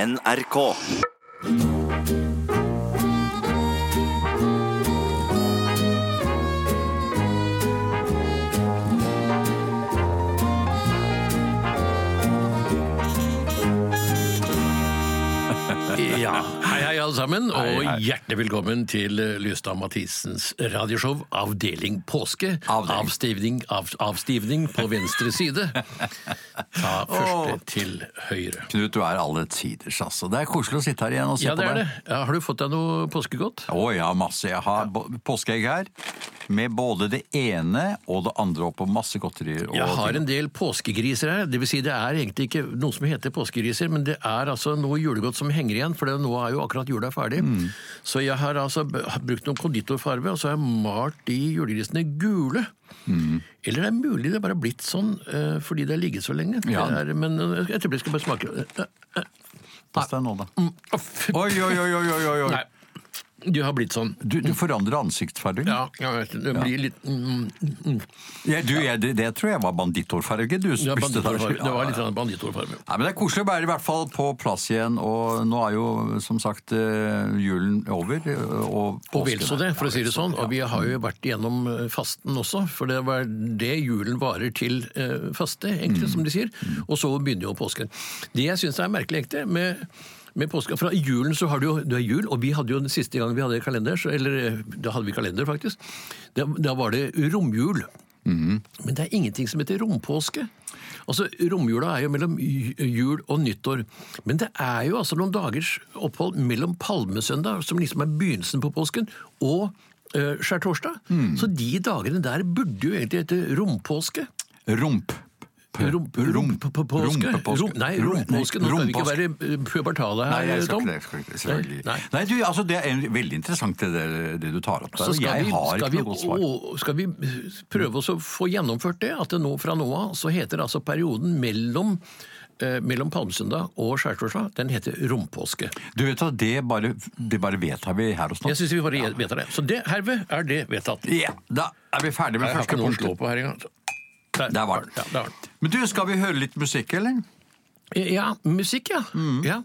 NRK. Ja. Hei, hei, alle sammen, og Hei, hei. hjertelig velkommen til eh, Lystad Mathisens radioshow Avdeling påske. Avdeling. Avstivning, av, avstivning på venstre side. Ta første til høyre. Knut, du er alle tiders, altså. Det er koselig å sitte her igjen og se Ja, det på er det. deg. Ja, har du fått deg noe påskegodt? Å ja, masse. Jeg har bo- påskeegg her. Med både det ene og det andre oppå masse godterier. Og Jeg har ting. en del påskegriser her. Det vil si, det er egentlig ikke noe som heter påskegriser, men det er altså noe julegodt som henger igjen, for det- nå er jo akkurat jula ferdig. Så jeg har altså b- brukt noen konditorfarve, og så har jeg malt de julegrisene gule. Eller det er mulig det er bare har blitt sånn eh, fordi det har ligget så lenge. Ja. Det er, men eh, et øyeblikk skal jeg bare smake. Eh, Pass deg nå, da. eh, å, fy- Oi, oi, oi, oi, oi, oi. Nei, de har blitt sånn. Du, du forandrer ansiktsfargen. Ja, jeg vet, det blir litt mm, mm, Ja, du, jeg, det, det tror jeg var bandittorfarge du ja, spiste der. bandittorfarve. Det var litt sånn bandittorfarve. Nei, men Det er koselig å være i hvert fall på plass igjen, og nå er jo som sagt eh, julen over. eh, Og, Og vel påsken så er- det, for å si det sånn. Og vi har jo vært igjennom eh, fasten også, for det var det julen varer til eh, faste, egentlig, som de sier. Og så begynner jo påsken. Det jeg syns er merkelig, egentlig, med, med påsken Fra julen så har du jo Det er jul, og vi hadde jo den siste gang vi hadde kalender, så, eller eh, da hadde vi kalender, faktisk. Da, da var det romjul. Men det er ingenting som heter rompåske. Altså, Romjula er jo mellom ju- jul og nyttår. Men det er jo altså noen dagers opphold mellom palmesøndag, som liksom er begynnelsen på påsken, og eh, skjærtorsdag. Hmm. Så de dagene der burde jo egentlig hete rompåske. Rump. Romp- Rump- Rompepåske? Rumpepåske. Rom- Nei, rompåske. Nå skal vi ikke være eh, pubertale Nei, her, jeg skal Tom. ikke det. jeg Skal ikke, det, selvfølgelig. Nei. Nei. du, altså, det er en- veldig interessant det, der- det du tar opp der. Så skal, jeg vi, har skal, ikke vi, noe godt svar. å- skal vi prøve oss å få gjennomført det? At det nå, fra nå av så heter altså perioden mellom, eh, mellom palmesøndag og skjærtorsdag, den heter rompåske. Du vet hva, det bare, det bare vedtar vi her hos Jeg oss. syns vi bare vedtar det. Så det, herved er det vedtatt. Ja, da er vi ferdig med Jeg har første ikke noe å slå punkt. på her engang. Der, Der var den. Ja, der var den. Men du, skal vi høre litt musikk, eller? Ja, musikk, ja. ja.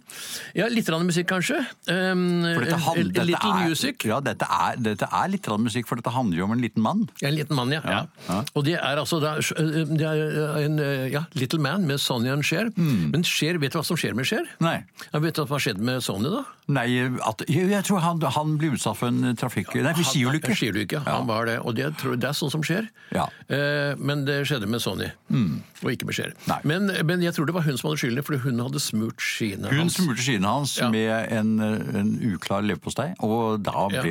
ja litt grann musikk, kanskje. Um, Mm. For dette a handler- dette Little er- Music. Ja, dette er, dette er litt grann musikk, for dette handler jo om en liten mann. En liten mann, ja. ja. Og det er altså da, det er eh, en ja, Little Man med Sonja og Cher. Mm. Men Cher, vet du hva som skjer med Cher? Nei. Jeg vet du hva som har skjedd med Sonja, da? Nei, at, jeg, jeg tror han, han blir utsatt for en trafikk... Nei, for skiulykke. Han- Skiulykke, han var det. Og det, tror- det er sånn som skjer. Ja. Mm. Eh, men det skjedde med Sonny, og ikke med Cher. Nei. Men, men jeg tror det var hun som var skyldig, fordi hun hadde smurt skiene Hun hans. smurte skiene hans altså. Ja. med en, en uklar leverpostei, og da Ja. ble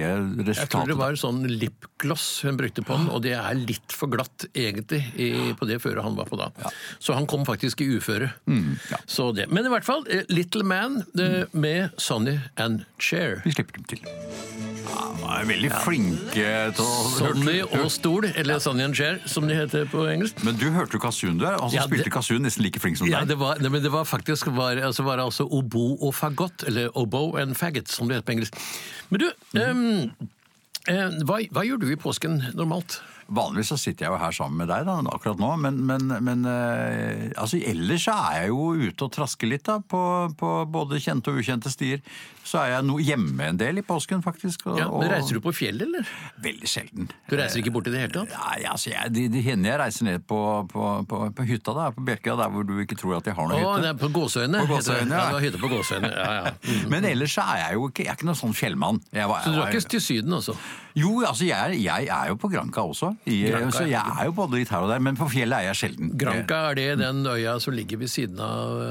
Jeg tror det resultatet var Ah. sånn lipgloss hun brukte på den, og det er litt for glatt egentlig i, på det føret han var på da. Så han kom faktisk i uføre. Så det. Men i hvert fall, eh, Little Man eh, med Sonny and Cher. Vi slipper dem til. Ja, de er veldig flinke til å Sonny Hørte- og Stol, eller Sonny and Cher, som de heter på engelsk. Men du hørte jo Kasun der. Han som Ja, det- spilte Kasun nesten like flink som Ja, deg. det var, nei, men det var faktisk var, altså, var det altså obo og fagott, eller obo and faggot, som det heter på engelsk. Men du, eh, eh, hva, hva gjør du i påsken normalt? Vanligvis så sitter jeg jo her sammen med deg da, akkurat nå, men, men, men eh, altså, ellers så er jeg jo ute og trasker litt da, på, på både kjente og ukjente stier. Så er jeg no, hjemme en del i påsken, faktisk. Og, Ja, men reiser du på fjellet, eller? og veldig sjelden. Du reiser ikke bort i det hele tatt? Nei, altså, jeg, de, de hender jeg reiser ned på, på, på, på hytta da, på Bjerkøya, der hvor du ikke tror at jeg har Å, noen det hytte. er på Gåsøyene. På heter det. Gåsøyene, ja. ja. det var hytte på Gåsøyene, ja, ja. Mm. Men ellers så er jeg jo ikke, jeg er ikke noen sånn fjellmann. Jeg var, Så du jeg drar var- ikke til Syden, altså? Jo, altså jeg er, jeg er jo på Granca også. I, Granca, så jeg er jo både litt her og der, men på fjellet er jeg sjelden. Granca, er det den øya som ligger ved siden av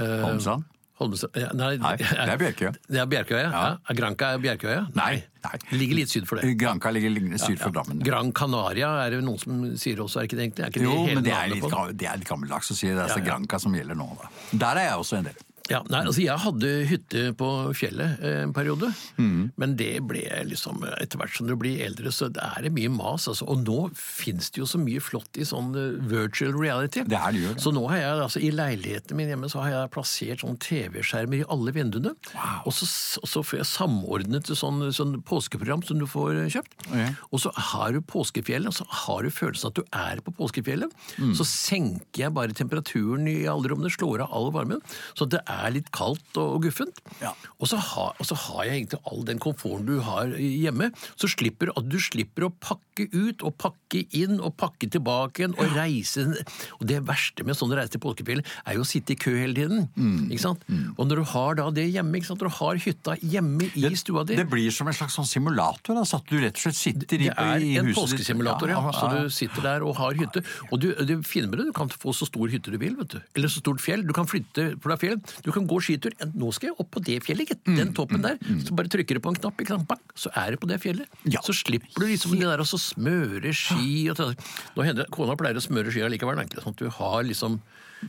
Eh, Holmstrand? Holmestrand ja, Nei, Nei, det er Bjerkøya. Det er Bjerkøya, ja. Ja. Er Granca er Bjerkøya? Nei, nei. Det ligger litt syd for det. Granca ligger lignende syd for Drammen. ja. Gran Canaria er det noen som sier også, er ikke det egentlig? Er ikke Jo, hele men det er navnet litt, på den? gam- det er litt gammeldags å si. Det er altså Ja, ja. Granca som gjelder nå. Da. Der er jeg også en del. Ja, nei, altså Jeg hadde hytte på fjellet eh, en periode, Mm. men det ble liksom Etter hvert som du blir eldre, så det er det mye mas. Altså. Og nå fins det jo så mye flott i sånn eh, virtual reality. Det er det jo, ja. Så nå har jeg altså i leiligheten min hjemme så har jeg plassert sånn TV-skjermer i alle vinduene. Og så, og så får jeg samordnet sånn, sånn påskeprogram som du får eh, kjøpt. Ja. Og så har du påskefjellet, og så har du følelsen at du er på Mm. påskefjellet. Så senker jeg bare temperaturen i alle rommene, slår av all varmen. Så det er litt kaldt og, og guffent. Ja. Og, så har- og så har jeg egentlig all den komforten du har hjemme. Så slipper at du slipper å pakke ut og pakke inn og pakke tilbake igjen og reise Og det verste med sånne reiser til påskefjellet er jo å sitte i kø hele tiden. Ikke sant? Og når du har da det hjemme, ikke sant? når du har hytta hjemme i stua di Det blir som en slags sånn simulator. Altså, at du rett og slett sitter i, det er i en huset ditt. påskesimulator, ja. Ja, Så ja. du sitter der og har hytte. Og du, det fine med det, du kan få så stor hytte du vil, vet du. Eller så stort fjell. Du kan flytte fra fjell. Du kan gå skitur. Nå skal jeg opp på det fjellet, Mm, gitt. Den toppen der. Så bare trykker du på en knapp, ikke sant? Bang, så er du på det fjellet. Ja. Så slipper du liksom det der å så smøre ski og sånn. Nå hender det- Kona pleier å smøre ski allikevel, da, ikke sant? sånn at du har liksom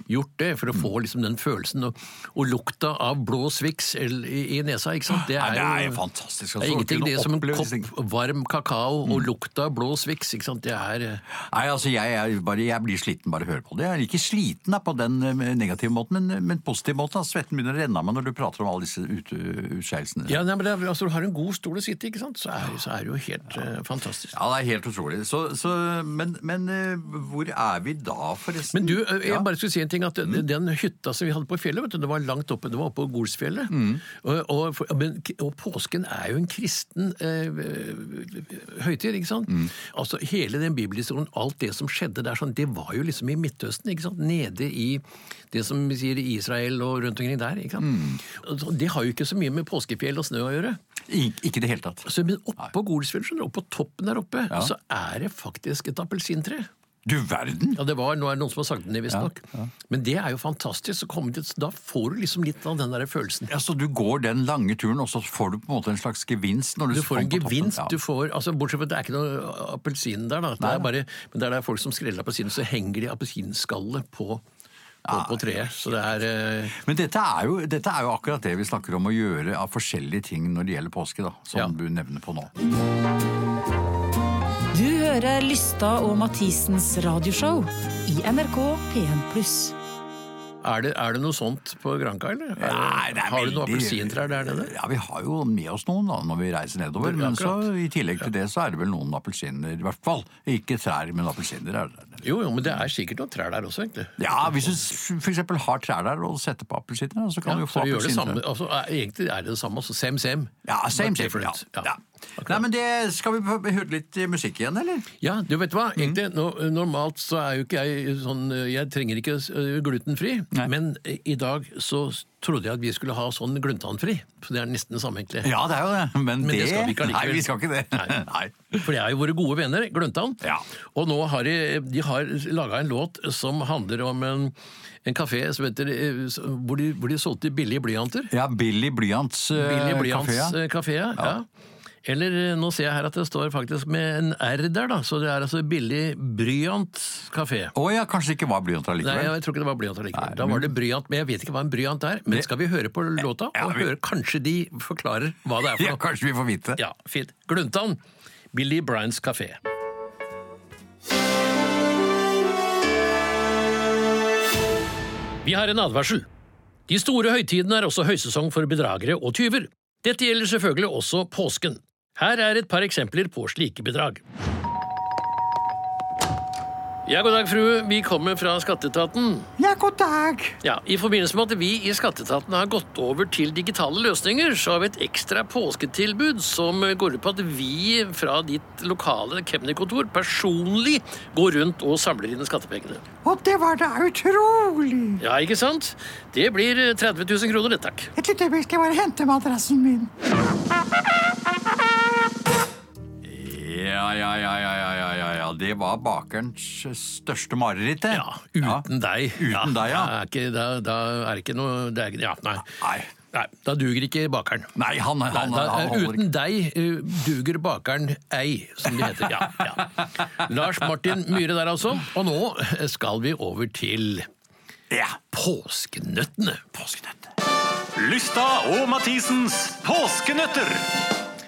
gjort det for å Mm. få liksom den følelsen og, og lukta av blå Swix eller i, i nesa, ikke sant? Det Nei, det er jo jo- fantastisk. det altså, er å ingenting kunne det som en oppleve disse kopp varm kakao og lukta av blå Swix. ikke sant? Det er eh, Nei, altså jeg, er bare, jeg blir sliten bare av å høre på det. Jeg er ikke sliten da, på den eh, negative måten, men, men positiv måten. da. Svetten begynner å renne av meg når du prater om alle disse ut- utskeielsene. Ja, nei, men det er, altså, Du har en god stol å sitte i, ikke sant? Så er, så er det jo helt eh, fantastisk. Ja, det er helt utrolig. Så, så, men, men eh, hvor er vi da, forresten? Men du, eh, jeg Ja. Mm. bare skulle si en ting, at eh, den hytta som vi hadde på fjellet, vet du, det var langt oppe, det var oppe på Golsfjellet. Mm. Og, og, for- men, og påsken er jo en kristen eh, høytid, ikke sant? Mm. Altså, hele den bibelhistorien, alt det som skjedde der, sånn, det var jo liksom i Midtøsten, ikke sant? Nede i det som vi sier i Israel og rundt omkring der, ikke Mm. sant? Og Det har jo ikke så mye med påskefjell og snø å gjøre. Ik ikke i det hele tatt. Så, men oppå Golsfjellet, skjønner du, oppå toppen der oppe, Ja. så er det faktisk et appelsintre. Du verden! Ja, det var, Nå er det noen som har sagt det ned, visstnok. Men det er jo fantastisk. å komme dit, Da får du liksom litt av den der følelsen. Ja, så du går den lange turen, og så får du på en måte en slags gevinst? Når du, Du får en kommer på toppen. gevinst. Ja. du får, altså Bortsett fra at det er ikke noe appelsin der, da. Det er bare, men der det er folk som skreller appelsin, så henger de appelsinskallet på, på, på treet. Så det er eh, Men dette er, jo, dette er jo akkurat det vi snakker om å gjøre av forskjellige ting når det gjelder påske, da, som Ja. du nevner på nå. Du hører Lystad og Mathisens radioshow i NRK P1+. er, det, er det noe sånt på Granca, eller? Er det- Nei, det er har du noen veldig- appelsintrær der nede? Ja, Vi har jo med oss noen da, når vi reiser nedover. Det er Men akkurat. så, i tillegg til det så er det vel noen appelsiner, i hvert fall. Ikke trær, men appelsiner. er det der. Jo, jo, men det er sikkert noen trær der også, egentlig. Ja, Hvis du f.eks. har trær der og setter på appelsiner, så kan Ja, du jo så få vi gjør det samme. appelsintrær. Altså, er- egentlig er det det samme. Altså, same, same. Ja, same, But same. Ja. different. Ja. Nei, men det, Skal vi få høre litt musikk igjen, eller? Ja, du vet hva, Mm. egentlig, no- normalt så er jo ikke jeg sånn Jeg trenger ikke eh, glutenfri, Nei. men i dag så trodde jeg at vi skulle ha sånn glutenfri. For det er nesten det samme, egentlig. Ja, det er jo det. Men, Men det skal vi ikke allikevel. Nei, vi skal ikke det. Nei. Nei. For det er jo våre gode venner, Gløntan. Ja. Og nå har de, de har laga en låt som handler om en, en kafé som heter, eh, som- hvor, de, hvor de solgte billige blyanter. Ja, Billy Blyants eh, Billy kafé, ja. Blyants eh, kafé, ja. ja. Eller eh, nå ser jeg her at det står faktisk med en R der, da. Så det er altså Billig Bryant kafé. Å ja, kanskje det ikke var blyant Nei, allikevel. jeg tror ikke det var blyant allikevel. Nei, Da var det bryant, men jeg vet ikke hva en bryant er. Men skal vi høre på låta, Ja, og vi- høre kanskje de forklarer hva det er Ja, for noe? kanskje vi får vite. Ja, fint. Gluntan, Billy Bryants kafé. Vi har en advarsel. De store høytidene er også høysesong for bedragere og tyver. Dette gjelder selvfølgelig også påsken. Her er et par eksempler på slike bedrag. Ja, god dag, frue. Vi kommer fra Skatteetaten. Ja, god dag! Ja, I forbindelse med at vi i Skatteetaten har gått over til digitale løsninger, så har vi et ekstra påsketilbud som går ut på at vi fra ditt lokale kemnerkontor personlig går rundt og samler inn skattepengene. Og det var da utrolig! Ja, ikke sant? Det blir 30 000 kroner, det, takk. Et lite øyeblikk, jeg bare henter madrassen min. Ja, ja, ja, ja, ja, ja, ja, ja. Det var bakerens største mareritt, det. Ja, uten deg. Uten deg, ja. Da er ikke, da, da er det ikke noe det er, ikke- Ja, nei. Nei. nei. Da duger ikke bakeren. Nei, han, han, han, Nei, da, holder uten ikke. deg eh, duger bakeren ei, som det heter. Ja, ja. Lars Martin Myhre der altså. Og nå skal vi over til Ja. påskenøttene. Påskenøtt. Lystad og Mathisens påskenøtter.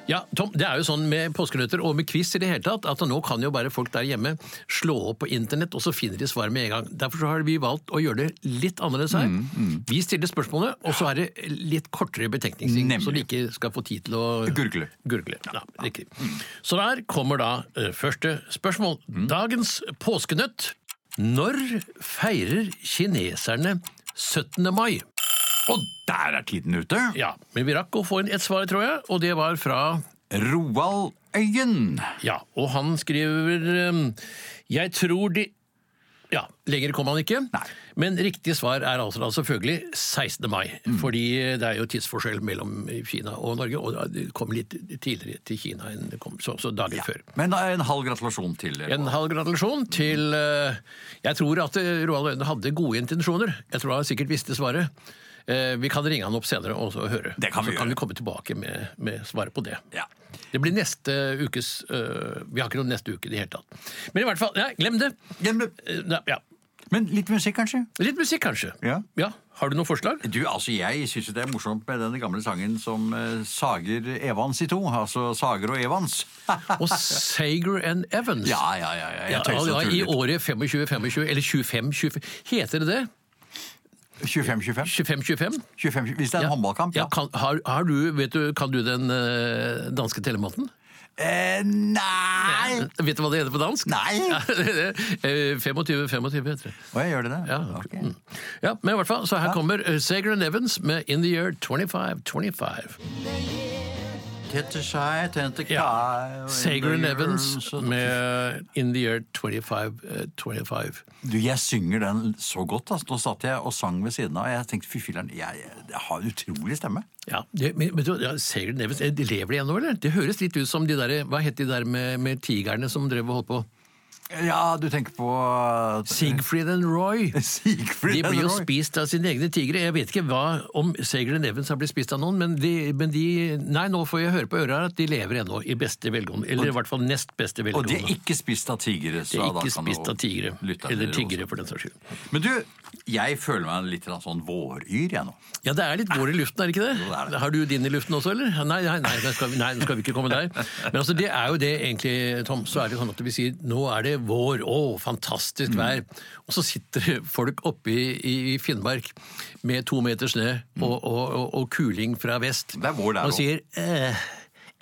Ja, Tom, Det er jo sånn med påskenøtter og med quiz i det hele tatt, at nå kan jo bare folk der hjemme slå opp på internett, og så finner de svar med en gang. Derfor så har vi valgt å gjøre det litt annerledes her. Mm, Vi stiller spørsmålene, og så er det litt kortere betenkningstid, Nemlig. så de ikke skal få tid til å Gurgle. Gurgle, ja, riktig. Så der kommer da eh, første spørsmål. Dagens påskenøtt. Når feirer kineserne 17. mai? Og der er tiden ute! Ja, Men vi rakk å få inn ett svar, tror jeg, og det var fra Roald Øyen. Ja, og han skriver ehm, Jeg tror de ja, Lenger kom han ikke. Nei. Men riktig svar er altså da selvfølgelig 16. mai. Fordi det er jo tidsforskjell mellom Kina og Norge, og det kom litt tidligere til Kina enn det kom så, så dager før. Men en halv gratulasjon til. Roald. En halv gratulasjon til eh, Jeg tror at eh, Roald Øyne hadde gode intensjoner. Jeg tror han sikkert visste svaret. Eh, Vi kan ringe han opp senere og så høre. Det kan vi så kan gjøre. vi komme tilbake med, med svaret på det. Ja. Det blir neste ukes øh, Vi har ikke noe neste uke i det hele tatt. Men i hvert fall, nei, glem det. Men, Eh, nei, ja. men litt musikk, kanskje? Litt musikk, kanskje. Ja. Har du noen forslag? Du, altså, Jeg syns det er morsomt med den gamle sangen som eh, sager Evans i to. Altså Sager og Evans. Og Sager and Evans. Ja, ja, ja. ja. Ja, Jeg tøyser ja, og I tuller. året 25-25, eller 25-25 Heter det det? 25-25. 25-25? 25, Hvis det er en håndballkamp, Ja, ja. kan, har, har du, vet du, kan du den øh, danske telemåten? Eh, nei! Vet du hva det heter på dansk? Nei! Eh, 25-25 heter det. Å, jeg gjør det, det? Ja, Ok. mm. ja, men i hvert fall, så her kommer eh, Sager and Evans med In the Year 2525. Tette seg, tente Ja. kai Sager and Evans Så- med eh, In the Year eh, 2525. Du, jeg synger den så godt. Altså. Nå satt jeg og sang ved siden av, og jeg tenkte fy filleren, jeg, jeg har en utrolig stemme. Ja, det, men, men, du, ja, Sager and Evans, eh, de lever de ennå, eller? Det høres litt ut som de der, eh, hva het de der med, med tigerne som drev og holdt på? Ja, du tenker på eh, Siegfried and Roy. Sigfrid De blir jo Roy. spist av sine egne tigre. Jeg vet ikke hva, om Sager and Evans har blitt spist av noen, men de, men de Nei, nå får jeg høre på øra at de lever ennå, i beste velgående. Eller i hvert fall nest beste Og velgående. de er ikke spist av tigre. Det er så da kan ikke spist jo av tigre. lytte Eller til tiggere, også. for den saks skyld. Men du, jeg føler meg litt grann sånn våryr, jeg nå. Ja, det er litt vår i luften, er det ikke det? det er det. Har du din i luften også, eller? Nei, nei, nei, nå skal vi, nei, nå skal vi ikke komme der. Men altså, det er jo det egentlig, Tom. Så er det sånn at vi sier nå er det vår, å, fantastisk Mm. vær. Og så sitter folk oppe i, i Finnmark med to meter snø og, og, og, og kuling fra vest. Mm. Det er vår der Og også. sier eh,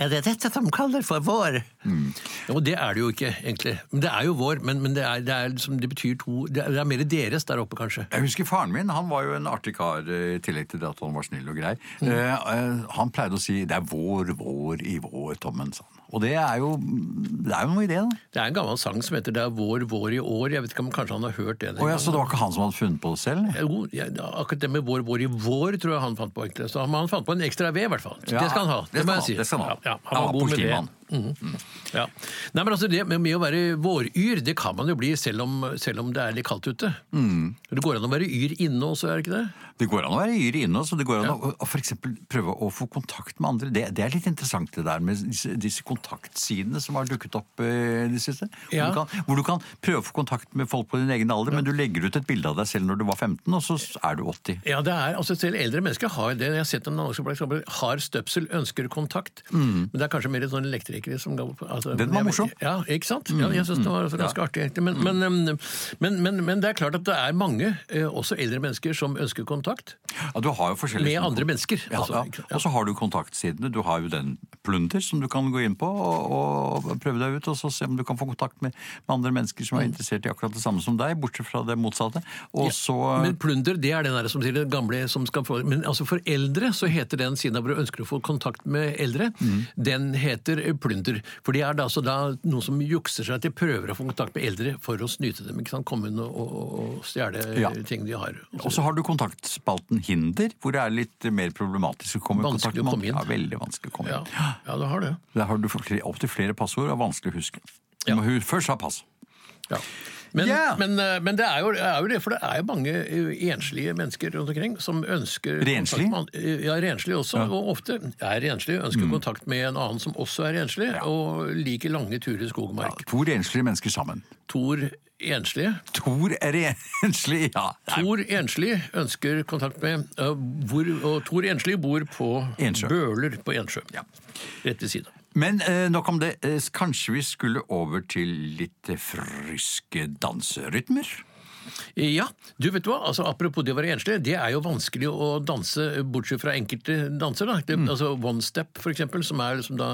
er det dette de kaller for vår? Mm. Jo, det er det jo ikke, egentlig. Men Det er jo vår, men, men det, er, det, er liksom, det betyr to Det er, det er mer deres der oppe, kanskje. Jeg husker faren min, han var jo en artig kar eh, i tillegg til det at han var snill og grei. Mm. Eh, eh, han pleide å si 'det er vår, vår i vår', Tommen, sa han. Og det er jo, det er jo noe i det, da. Det er en gammel sang som heter 'Det er vår, vår i år'. Jeg vet ikke om Kanskje han har hørt det? den Å ja, gangen. Så det var ikke han som hadde funnet på det selv? Jo, ja, akkurat det med 'vår, vår i vår' tror jeg han fant på. egentlig. Så han, han fant på en ekstra V, i hvert fall. Ja, det skal han ha. det Det, må skal jeg han- si. det skal han ha. Ja, ja, Han han var var Mm. god med det. politimann. Mhm. Ja. Nei, men altså, det med, med å være våryr, det kan man jo bli selv om, selv om det er litt kaldt ute. Mm. Det går an å være yr inne også, er det ikke det? Det går an å være yr inne, så det går an å, å for eksempel prøve å få kontakt med andre. Det, det er litt interessant det der med disse, disse kontaktsidene som har dukket opp eh, i det siste. Hvor, Ja. du kan, hvor du kan prøve å få kontakt med folk på din egen alder, men du legger ut et bilde av deg selv når du var 15, og så er du 80. Ja, det er, altså Selv eldre mennesker har det. Jeg har sett en annonse for eksempel, har støpsel, ønsker kontakt. Men det er kanskje mer sånn elektrikere som går på altså, Mm. Den var morsom. Mm. Ja, ikke sant? Ja, jeg synes det var ganske artig, egentlig. Men, men, men, men, men det er klart at det er mange, eh, også eldre mennesker, som ønsker kontakt Ja, du har jo forskjellige med andre mennesker. Ja, altså, ja. ikke sant? Og så har du kontaktsidene. Du har jo den plunder som du kan gå inn på og, og prøve deg ut, og så se om du kan få kontakt med, med andre mennesker som er Mm. interessert i akkurat det samme som deg, bortsett fra det motsatte. Og så Men plunder, det er den der som sier det gamle som skal få Men altså for eldre så heter den siden av hvor du ønsker å få kontakt med eldre, Mm. den heter eh, plunder. For det er da, altså da noen som jukser seg til prøver å få kontakt med eldre for å snyte dem. ikke sant? Komme inn og, og, og stjele Ja. ting de har. Og så har du kontaktspalten Hinder, hvor det er litt mer problematisk å komme i kontakt Vanskelig å med komme inn. Ja, veldig vanskelig å komme Ja, inn. ja du har det. Der har du opptil flere passord og vanskelig å huske. Du må hu- først ha pass. Ja. Men, Ja. men, eh, men det, er jo, det er jo det, for det er jo mange eh, enslige mennesker rundt omkring som ønsker Renslige? Mm. kontakt med an- Ja, renslige også, og ofte er renslige. Ønsker kontakt med en annen som også er renslig, og liker lange turer i skog og mark. To renslige mennesker sammen. Tor enslige. Tor er renslig, ja. Nei, Tor enslig ønsker kontakt med eh, hvor, Og Tor enslig bor på Ensjø. Bøler på Ensjø. Ja. Rett ved siden av. Men eh, nok om det. Eh, kanskje vi skulle over til litt eh, friske danserytmer? Ja, du vet hva, altså Apropos det å være enslig, det er jo vanskelig å danse, bortsett fra enkelte danser. da. Mm. Det, Altså One Step, for eksempel, som er liksom da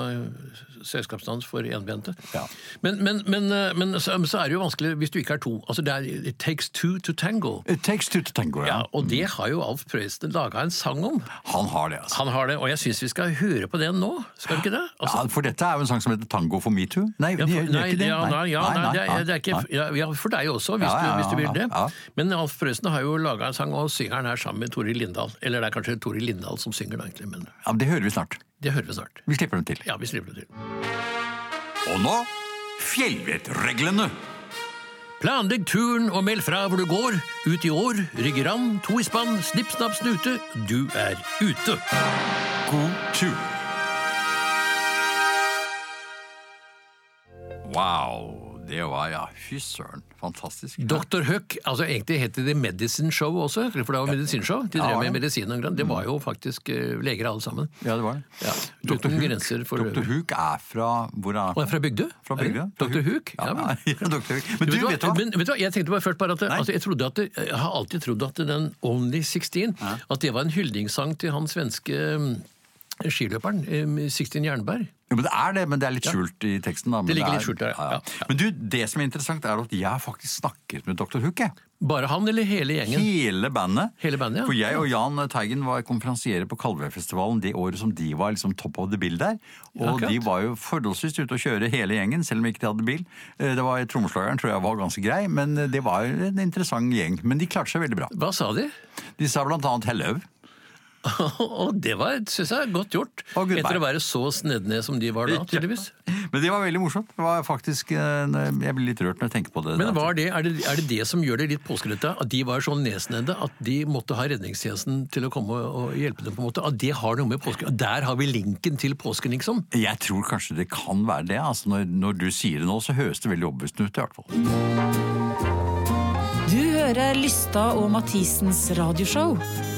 selskapsdans for enbente. Ja. Men, men, men, eh, men så, så er det jo vanskelig hvis du ikke er to. Altså det er, It takes two to tango. It takes two to tango, ja. Ja, og det har jo Alf Prøysen laga en sang om. Han har det, altså. Han har det, og jeg syns vi skal høre på den nå. Skal vi ikke det? Altså, Ja, for dette er jo en sang som heter 'Tango for metoo'. Nei, ja, det for, gjør- gjør nei, ikke det. ja, nei, ja, nei, det er- det er ikke ja, ja, for deg også, hvis, Ja, ja, du, hvis du vil ja, det. ja. Men Alf Prøysen har jo laga en sang, og synger den her sammen med Tori Lindahl. Eller det er kanskje Tori Lindahl som synger den, egentlig, men Ja, men det hører vi snart. det hører vi snart. Vi slipper dem til. Ja, vi slipper det til. Og nå fjellvettreglene. Planlegg turen og meld fra hvor du går. Ut i år, rygger an, to i spann, snipp, snapp, snute. Du er ute. God tur. Wow. Det var ja, fy søren. Fantastisk. Dr. Huck, altså egentlig het det Medicine Show også, for det var medisinshow. De Ja, drev ja. med medisin og grann. Det var jo faktisk eh, leger alle sammen. Ja, det var det. Ja. Dr. Uten Hook- grenser for Dr. Hook er fra Hvor er han? Og er fra Bygdø? Fra Bygdø? Er det? Dr. Hook? Ja, Ja, ja, men. Dr. Hook. Men du, vet du hva? Men, vet du hva? Jeg tenkte bare først bare at, det- Nei. altså, jeg, trodde at det, jeg har alltid trodd at den Only 16 at det var en hyldingssang til han svenske mm, skiløperen mm, 16 Jernberg. Jo, men det er det, men det er litt skjult i teksten. Da, men Det ligger er- litt skjult der, ja. Ja. Men du, det som er interessant, er at jeg har faktisk snakket med Dr. Hook. Jeg. Bare han eller hele gjengen? Hele bandet. Hele bandet, ja. For jeg og Jan Teigen var konferansiere på Kalvøyfestivalen det året som de var liksom top of the bill der. Og Akkurat. de var jo forholdsvis ute å kjøre hele gjengen, selv om ikke de hadde bil. Eh, Det var Trommeslageren tror jeg var ganske grei, men det var jo en interessant gjeng. Men de klarte seg veldig bra. Hva sa de? De sa blant annet 'hello'. Og det var, synes jeg, godt gjort. Og goodbye. Etter å være så snedne som de var da, tydeligvis. Men det var veldig morsomt. Det var faktisk, eh, Jeg blir litt rørt når jeg tenker på det. Men var det, er, det, er det det som gjør det litt påskrutte? At de var så nedsnedde at de måtte ha redningstjenesten til å komme og hjelpe dem? på en måte? At det har noe med påsken Der har vi linken til påsken, liksom! Jeg tror kanskje det kan være det. altså Når, når du sier det nå, så høres det veldig overbevisende ut. i hvert fall. Du hører Lysta og Mathisens radioshow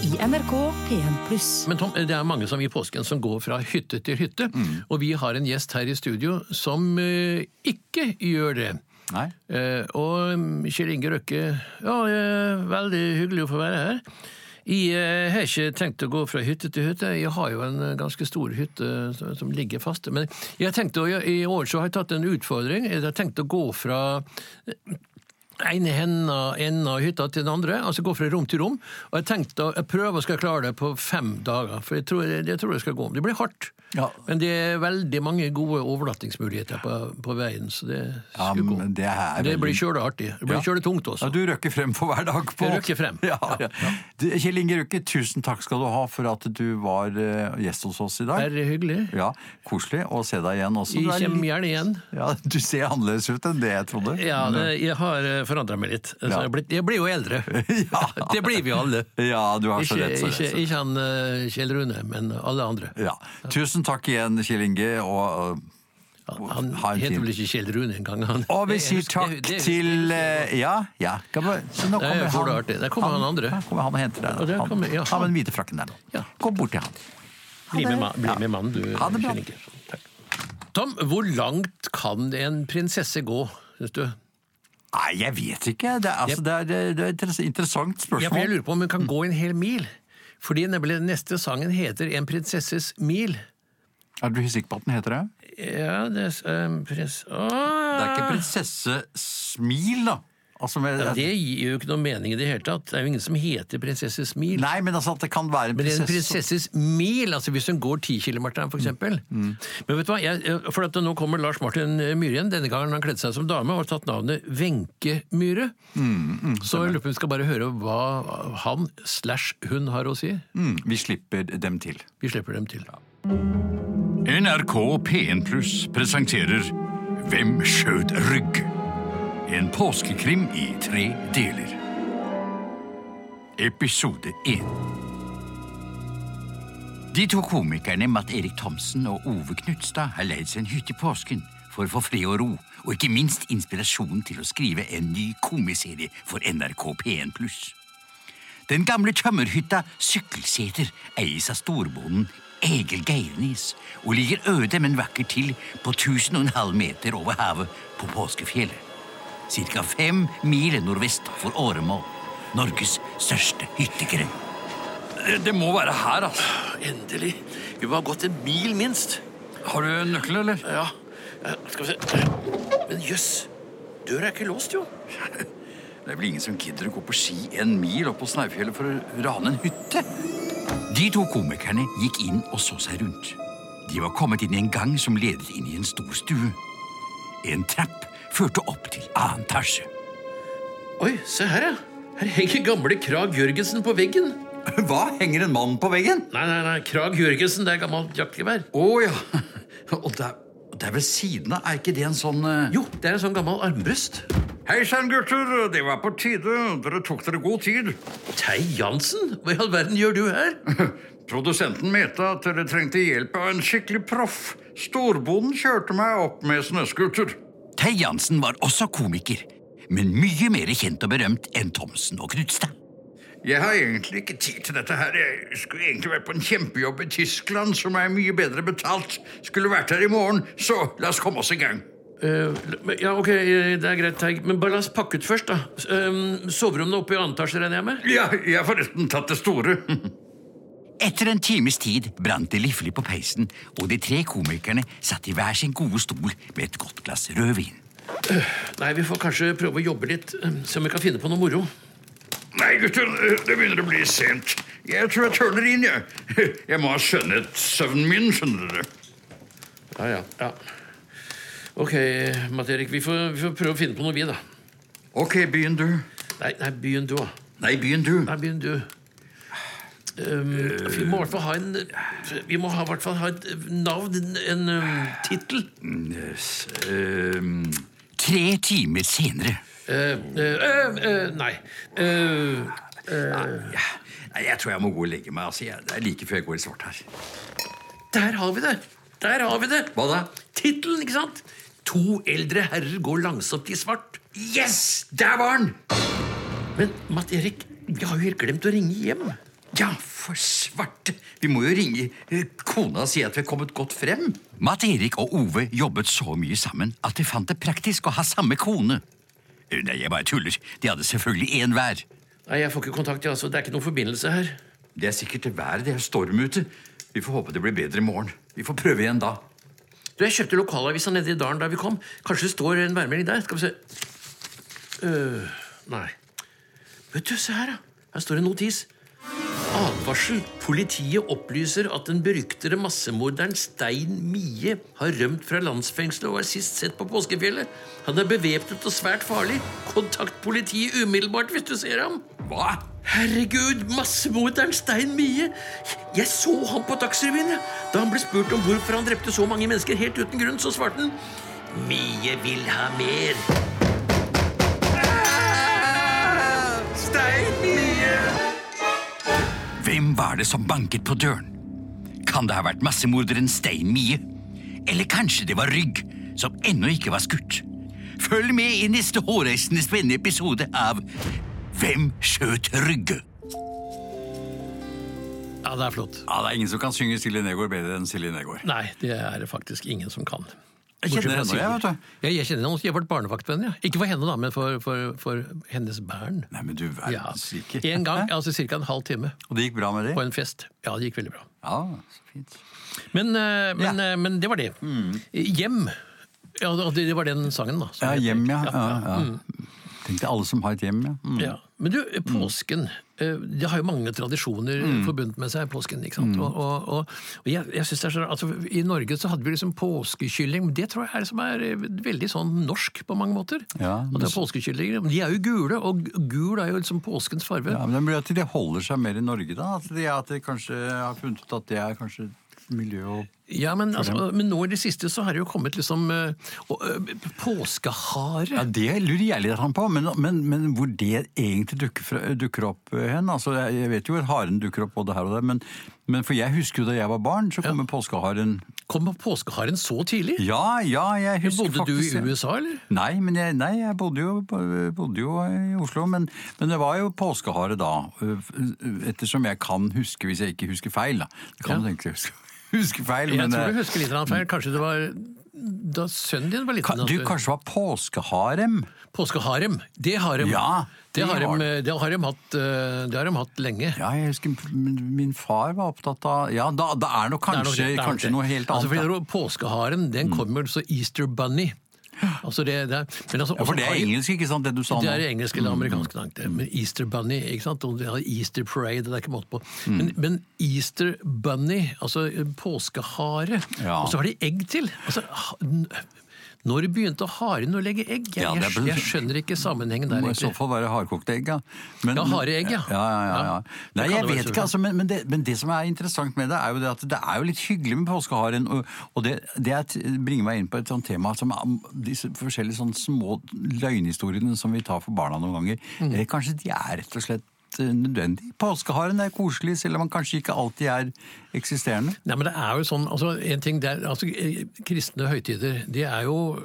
i NRK P1+. Men Tom, det er mange som i påsken som går fra hytte til hytte. Og vi har en gjest her i studio som eh, ikke gjør det. Nei? Eh, og mm, Kjell Inge Røkke, ja, eh, veldig hyggelig å få være her. Jeg eh, har ikke tenkt å gå fra hytte til hytte. Jeg har jo en eh, ganske stor hytte eh, som, som ligger fast. Men jeg tenkte, å gjø- i år så har jeg tatt en utfordring. Jeg har tenkt å gå fra eh, ene henda- enden av hytta til den andre, altså gå fra rom til rom. Og jeg tenkte å jeg prøver å skal klare det på fem dager, for jeg tror jeg, jeg, tror jeg skal gå om. Det blir hardt, Ja. men det er veldig mange gode overnattingsmuligheter på, på veien, så det Ja, skulle gå. men det er Det veldig- blir kjøle artig. Det blir Ja. kjøle tungt også. Ja, du røkker frem for hver dag. På. Jeg røkker frem. Ja, Ja, ja. Du, Kjell Inge Røkke, tusen takk skal du ha for at du var eh, gjest hos oss i Det dag. er hyggelig. Ja, Koselig å se deg igjen også. Jeg Du er kommer litt- gjerne igjen. Ja, du ser annerledes ut enn det jeg trodde. Ja, jeg har forandra meg litt. Så Ja. jeg, blir, jeg blir jo eldre. Ja. Det blir vi alle. Ja, du har så Ikke, rett. Så rett, så ikke, rett. ikke han eh, Kjell Rune, men alle andre. Ja. Tusen takk igjen, Kjell Inge. Og, og Han Ha en fin- heter vel ikke Kjell Rune engang. han. Og vi Det- sier takk det- det- til eh, Ja, ja. Kan vi- Så nå Nei, kommer jeg får det han. artig. Der kommer han andre. Her kommer han og henter deg. Og der nå. kommer- ja, Han, han han. med den hvite frakken der nå. Ja. Gå bort til han. Bli med, ma- bli med mannen, du. Ha det bra. Kjell Inge. Takk. Tom, hvor langt kan en prinsesse gå, syns du? Nei, jeg vet ikke. Det er, altså, det er, det er et interess- interessant Ja, for jeg spørsmål. lurer på om hun kan gå en hel mil. Fordi nemlig neste sangen heter En prinsesses mil. Er du sikker på at den heter det? Ja, det er um, prins... Det er ikke Åh! prinsessesmil, da. Altså med, Ja, det gir jo ikke noe mening i det hele tatt. Det er jo ingen som heter prinsesses mil. Nei, men altså at det kan være en Men det er en prinsesse prinsesses Mm. mil, altså hvis hun går 10 kilometeren for eksempel. Men vet du hva, jeg, eh, for at nå kommer Lars Martin Myhre igjen, denne gangen han kledde seg som dame og har tatt navnet Venke Myhre. Mm, Så jeg lurer på om vi skal bare høre hva han slash hun har å si. mm, Vi slipper dem til. Vi slipper dem til. NRK P1 Pluss presenterer Hvem skjøt rygg? En påskekrim i tre deler. Episode 1 De to komikerne Matt Erik Thomsen og Ove Knutstad har leid seg en hytte i påsken for å få fred og ro, og ikke minst inspirasjon til å skrive en ny komiserie for NRK P1+. Den gamle tømmerhytta Sykkelseter eies av storbonden Egil Geirnes og ligger øde, men vakkert til på 1005 meter over havet på påskefjellet. ca. fem mil nordvest for Åremål. Norges største hyttegrend. Det må være her, altså. Endelig. Vi må ha gått en mil minst. Har du nøkkelen, eller? Ja, eh, skal vi se. Men jøss, døra er ikke låst, jo. Det er vel ingen som gidder å gå på ski en mil opp på Snaufjellet for å rane en hytte? De to komikerne gikk inn og så seg rundt. De var kommet inn i en gang som ledet inn i en stor stue. En trapp førte opp til annen etasje. Oi, se her, ja. Her henger gamle Krag Jørgensen på veggen. Hva? Henger en mann på veggen? Nei, nei, nei, Krag Jørgensen, det er gammelt jaktgevær. Å ja. Og det er, det er ved siden av. Er ikke det en sånn eh, Jo, det er en sånn gammel armbrøst. Hei sann, gutter. Det var på tide. Dere tok dere god tid. Tei Jansen, hva i all verden gjør du her? Produsenten mente at dere trengte hjelp av en skikkelig proff. Storbonden kjørte meg opp med snøscooter. Tei Jansen var også komiker, men mye mer kjent og berømt enn Thomsen og Knutstad. Jeg har egentlig ikke tid til dette her. Jeg skulle egentlig vært på en kjempejobb i Tyskland, som er mye bedre betalt. Skulle vært her i morgen, så la oss komme oss i gang. Eh, men- ja, ok, eh, det er greit, Teig. Men bare la oss pakke ut først, da. S- eh, soverommene oppe i annen etasje regner jeg med? Ja, jeg har forresten tatt det store. Etter en times tid brant det liflig på peisen, og de tre komikerne satt i hver sin gode stol med et godt glass rødvin. Nei, vi får kanskje prøve å jobbe litt, eh, se om vi kan finne på noe moro. Nei, gutter, det begynner å bli sent. Jeg tror jeg tørner inn, jeg. Jeg må ha skjønnhetssøvnen min, skjønner dere. Ja, ja, ja. Ok, Matt-Erik, vi, får- vi får prøve å finne på noe, vi, da. Ok, begynn du. Nei, nei begynn du, da. Nei, begynn du. Nei, begynn du. Um, vi må i hvert fall ha en Vi må ha, i hvert fall ha et navn, en, en um, tittel. Ehm, Tre timer senere Eh, eh, eh, eh, nei. Eh, Nei, jeg tror jeg må gå og legge meg. Altså, jeg, det er like før jeg går i svart her. der har vi det! Der har vi det! Hva da? Tittelen, ikke sant? To eldre herrer går langsomt i svart. Yes! Der var den! Men Matt Erik, vi har jo helt glemt å ringe hjem. Ja, for svarte! Vi må jo ringe eh, kona og si at vi er kommet godt frem. Matt Erik og Ove jobbet så mye sammen at de fant det praktisk å ha samme kone. Eh, Nei, jeg bare tuller. De hadde selvfølgelig én hver. Nei, Jeg får ikke kontakt. jeg, altså. Det er ikke noen forbindelse her. Det er sikkert det været. Det er storm ute. Vi får håpe det blir bedre i morgen. Vi får prøve igjen da. Du, Jeg kjøpte lokalavisa nede i dalen der vi kom. Kanskje det står en værmelding der? Skal vi se. Øh, nei. Vet du, se her, da. Her står en notis. Advarsel. Politiet opplyser at den beryktede massemorderen Stein Mie har rømt fra landsfengselet og er sist sett på påskefjellet. Han er bevæpnet og svært farlig. Kontakt politiet umiddelbart hvis du ser ham. Hva? Herregud, massemorderen Stein Mie! Jeg så ham på Dagsrevyen. jeg. Da han ble spurt om hvorfor han drepte så mange mennesker helt uten grunn, så svarte han Mie vil ha mer. Hvem var det som banket på døren? Kan det ha vært massemorderen Stein Mie? Eller kanskje det var Rygg, som ennå ikke var skutt? Følg med i neste hårreisende spennende episode av Hvem skjøt Rygge? Ja, det er flott. Ja, Det er ingen som kan synge Silje Negård bedre enn Silje Negård. Nei, det er det faktisk ingen som kan. Jeg kjenner Bortsett fra henne, jeg, Sigurd. vet du. Ja, jeg kjenner henne også. Jeg har vært barnevaktvenn. Ja. Ikke for henne, da, men for, for, for hennes barn. Nei, men du Ja. verdens ikke. En gang, altså ca. en halv time, Og det gikk bra med på det? en fest. Ja, det gikk veldig bra. Ja, så fint. Men, eh, men, Ja. Mm. eh, men det var det. Hjem. Ja, det- det var den sangen, da. som Ja, het- hjem, ja. ja, Mm. ja. Tenk deg alle som har et hjem, ja. Mm. Mm. Ja. Men du, påsken. eh, Det har jo mange tradisjoner forbundet med seg, påsken. ikke sant? Og, og, og, og jeg, jeg synes det er så, altså, I Norge så hadde vi liksom påskekylling. men Det tror jeg er det som er eh, veldig sånn norsk på mange måter. Ja, At det er påskekyllinger. Men De er jo gule, og gul er jo liksom påskens farve. Ja, men det blir at de holder seg mer i Norge, da. At de, at de kanskje har funnet ut at det er kanskje miljø og Ja, men, altså, men nå i det siste så har det jo kommet liksom eh, og, eh, påskehare. ja, Det lurer jeg litt på, men, men, men hvor det egentlig dukker, fra, dukker opp eh, hen. Altså, jeg, jeg vet jo at haren dukker opp både her og der, men, men for jeg husker jo da jeg var barn, så kom påskeharen Kom påskeharen så tidlig? Ja, ja, jeg husker Bodde du i faktisk det. USA, eller? Nei, men jeg, nei, jeg bodde, jo, bodde jo i Oslo, men, men det var jo eh, påskehare da. Ettersom jeg kan huske, hvis jeg ikke husker feil, da. Det kan Ja. du tenke deg. huskefeil. Jeg men, tror eh, du husker litt av den Mm. feil. Kanskje det var da sønnen din var ka- liten. at Du, kanskje det var påskeharem? Påskeharem. Det har de, Ja, det det har har de, de. det har de hatt, eh, det har de hatt lenge. Ja, jeg husker min min far var opptatt av Ja, da, da er nok Det er kanskje, nok det, det er nok kanskje det. noe helt Altså, annet. fordi da. det er Mm. jo Påskeharen, den kommer så Easter bunny. Altså det, det er, men altså, ja, også for det har er sånn Mm. de- engelsk, ikke sant, det du sa Det er nå? engelsk eller amerikansk tanke. Men Easter bunny, ikke sant? Og de har Easter parade, det er ikke måte på. Mm. Men, men Easter bunny, altså påskehare, Ja. og så har de egg til! Altså, ha- n- når begynte haren å legge egg? Jeg, Ja, det er jeg, vel- jeg skjønner ikke sammenhengen Det der, må i så egentlig. fall være hardkokte egg, ja. Men- Ja, harde egg, ja. Ja, ja, ja, ja. Ja, det Nei, kan det være jeg vet ikke, selvfølgelig. altså, men, men, det, men det som er interessant med det, er jo det at det er jo litt hyggelig med påskeharen. Og, og det, det er t- bringer meg inn på et sånt tema som er- disse forskjellige sånne små løgnhistoriene som vi tar for barna noen ganger. Mm. Eh, Kanskje de er rett og slett eh, nødvendig. Påskeharen er koselig, selv om han kanskje ikke alltid er eksisterende. Nei, men det er jo sånn, altså, en ting der, altså, eh, Kristne høytider, de er jo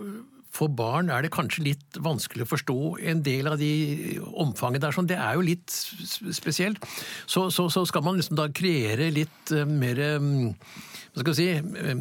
for barn er det kanskje litt vanskelig å forstå en del av de omfanget der. Sånn. Det er jo litt s- spesielt. Så, så, så skal man liksom da kreere litt eh, mer eh, Hva skal vi si eh,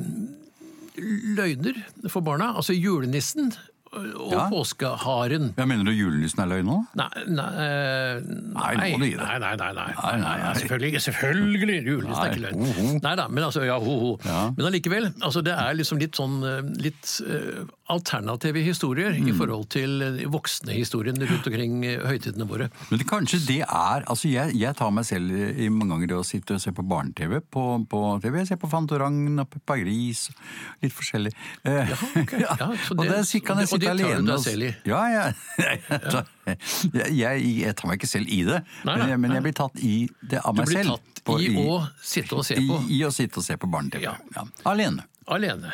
Løgner for barna. Altså julenissen eh, og Ja. påskeharen. Ja, Mener du julenissen er løgn nå? Nei nei, eh, Nei, nå må du gi deg. Nei, nei, nei. nei. Nei, nei, nei. Selvfølgelig. ikke, selvfølgelig, Julenissen er ikke Nei, løgn. ho, ho. Nei da, men altså, ja, ho, ho. Ja. Men allikevel. Altså, det er liksom litt sånn eh, litt eh, alternative historier Mm. i forhold til eh, voksne historien rundt omkring eh, høytidene våre. Men det, kanskje det er altså jeg, jeg tar meg selv i mange ganger det å sitte og se på barne-TV på, på TV. Jeg ser på Fantoragn og Peppa Gris, litt forskjellig. Eh, Ja, så og det- det sier- kan jeg og det sitte tar du alene deg og s- selv i? Ja, ja. Jeg, jeg, jeg tar meg ikke selv i det, Nei, men, nei, jeg, men nei. jeg blir tatt i det av Du meg blir selv. tatt i å sitte og se i- på. I, å sitte og se på barne-TV. Ja. Ja. Alene. Alene.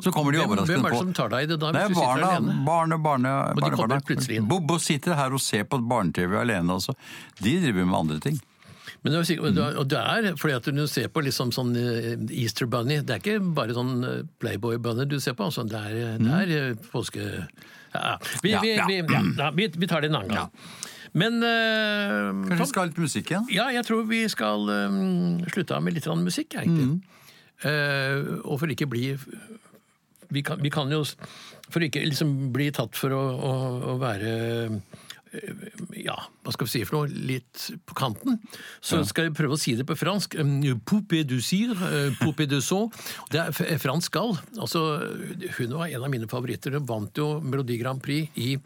Så kommer de Hvem- hvem overraskende på. er det som tar deg i det da, Det hvis er du sitter barna, alene? barne, barne, de barne, kommer barne. plutselig inn. Bobo sitter her og ser på barne-TV alene også. De driver med andre ting. Men det er, sikkert- Mm. og det er fordi at du ser på liksom sånn eh, Easter bunny. Det er ikke bare sånn eh, Playboy bunny du ser på. Altså. Det er, det er eh, påske... Ja. Vi, Mm. Ja, vi, ja. vi, ja, ja, vi, vi tar det en annen gang. Men eh, Kanskje Tom, vi skal ha litt musikk igjen? ja, jeg tror vi skal eh, slutte av med litt grann musikk, egentlig. Eh, og for ikke bli vi kan, vi kan jo s- For ikke liksom bli tatt for å, å, å være eh, ja, hva skal vi si for noe, litt på kanten. Så skal jeg prøve å si det på fransk. Eh, Poupée du cire, eh, poupée de son. Det er f- eh, fransk gall. Altså, hun var en av mine favoritter. Hun vant jo Melodi Grand Prix i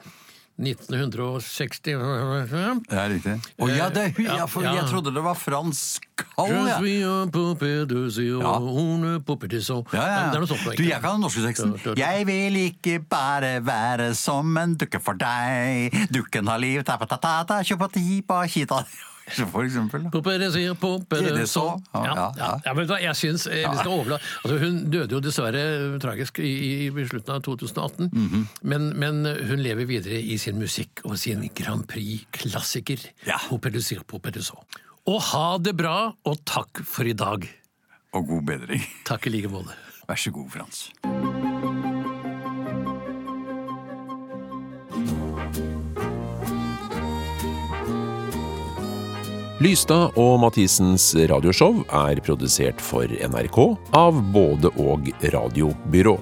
1960. Det er riktig. Å ja, det er hun! Ja, Ja, for ja. jeg trodde det var fransk kall, Je jeg. suis un poupée de cire, Ja. une poupée de son. Ja, ja, Det er ja. noe sånt. Du, jeg kan den norske teksten. Ja, ja, ja. Jeg vil ikke bare være som en dukke for deg. Dukken har liv, ta-pa-ta-ta-ta, tjopatipa, kita. For eksempel. da. Poppe det sier, poppe Er det det så? Ja, Ja, ja, ja, ja. ja. men vet du hva, jeg syns eh, vi skal overla... Altså, hun døde jo dessverre eh, tragisk i, i i slutten av 2018, Mhm. men, men eh, hun lever videre i sin musikk og sin Grand Prix-klassiker. Ja. Poppe det sier, poppe det så. Og ha det bra, og takk for i dag. Og god bedring. Takk i like måte. Vær så god, Frans. Lystad og Mathisens radioshow er produsert for NRK av både og radiobyrå.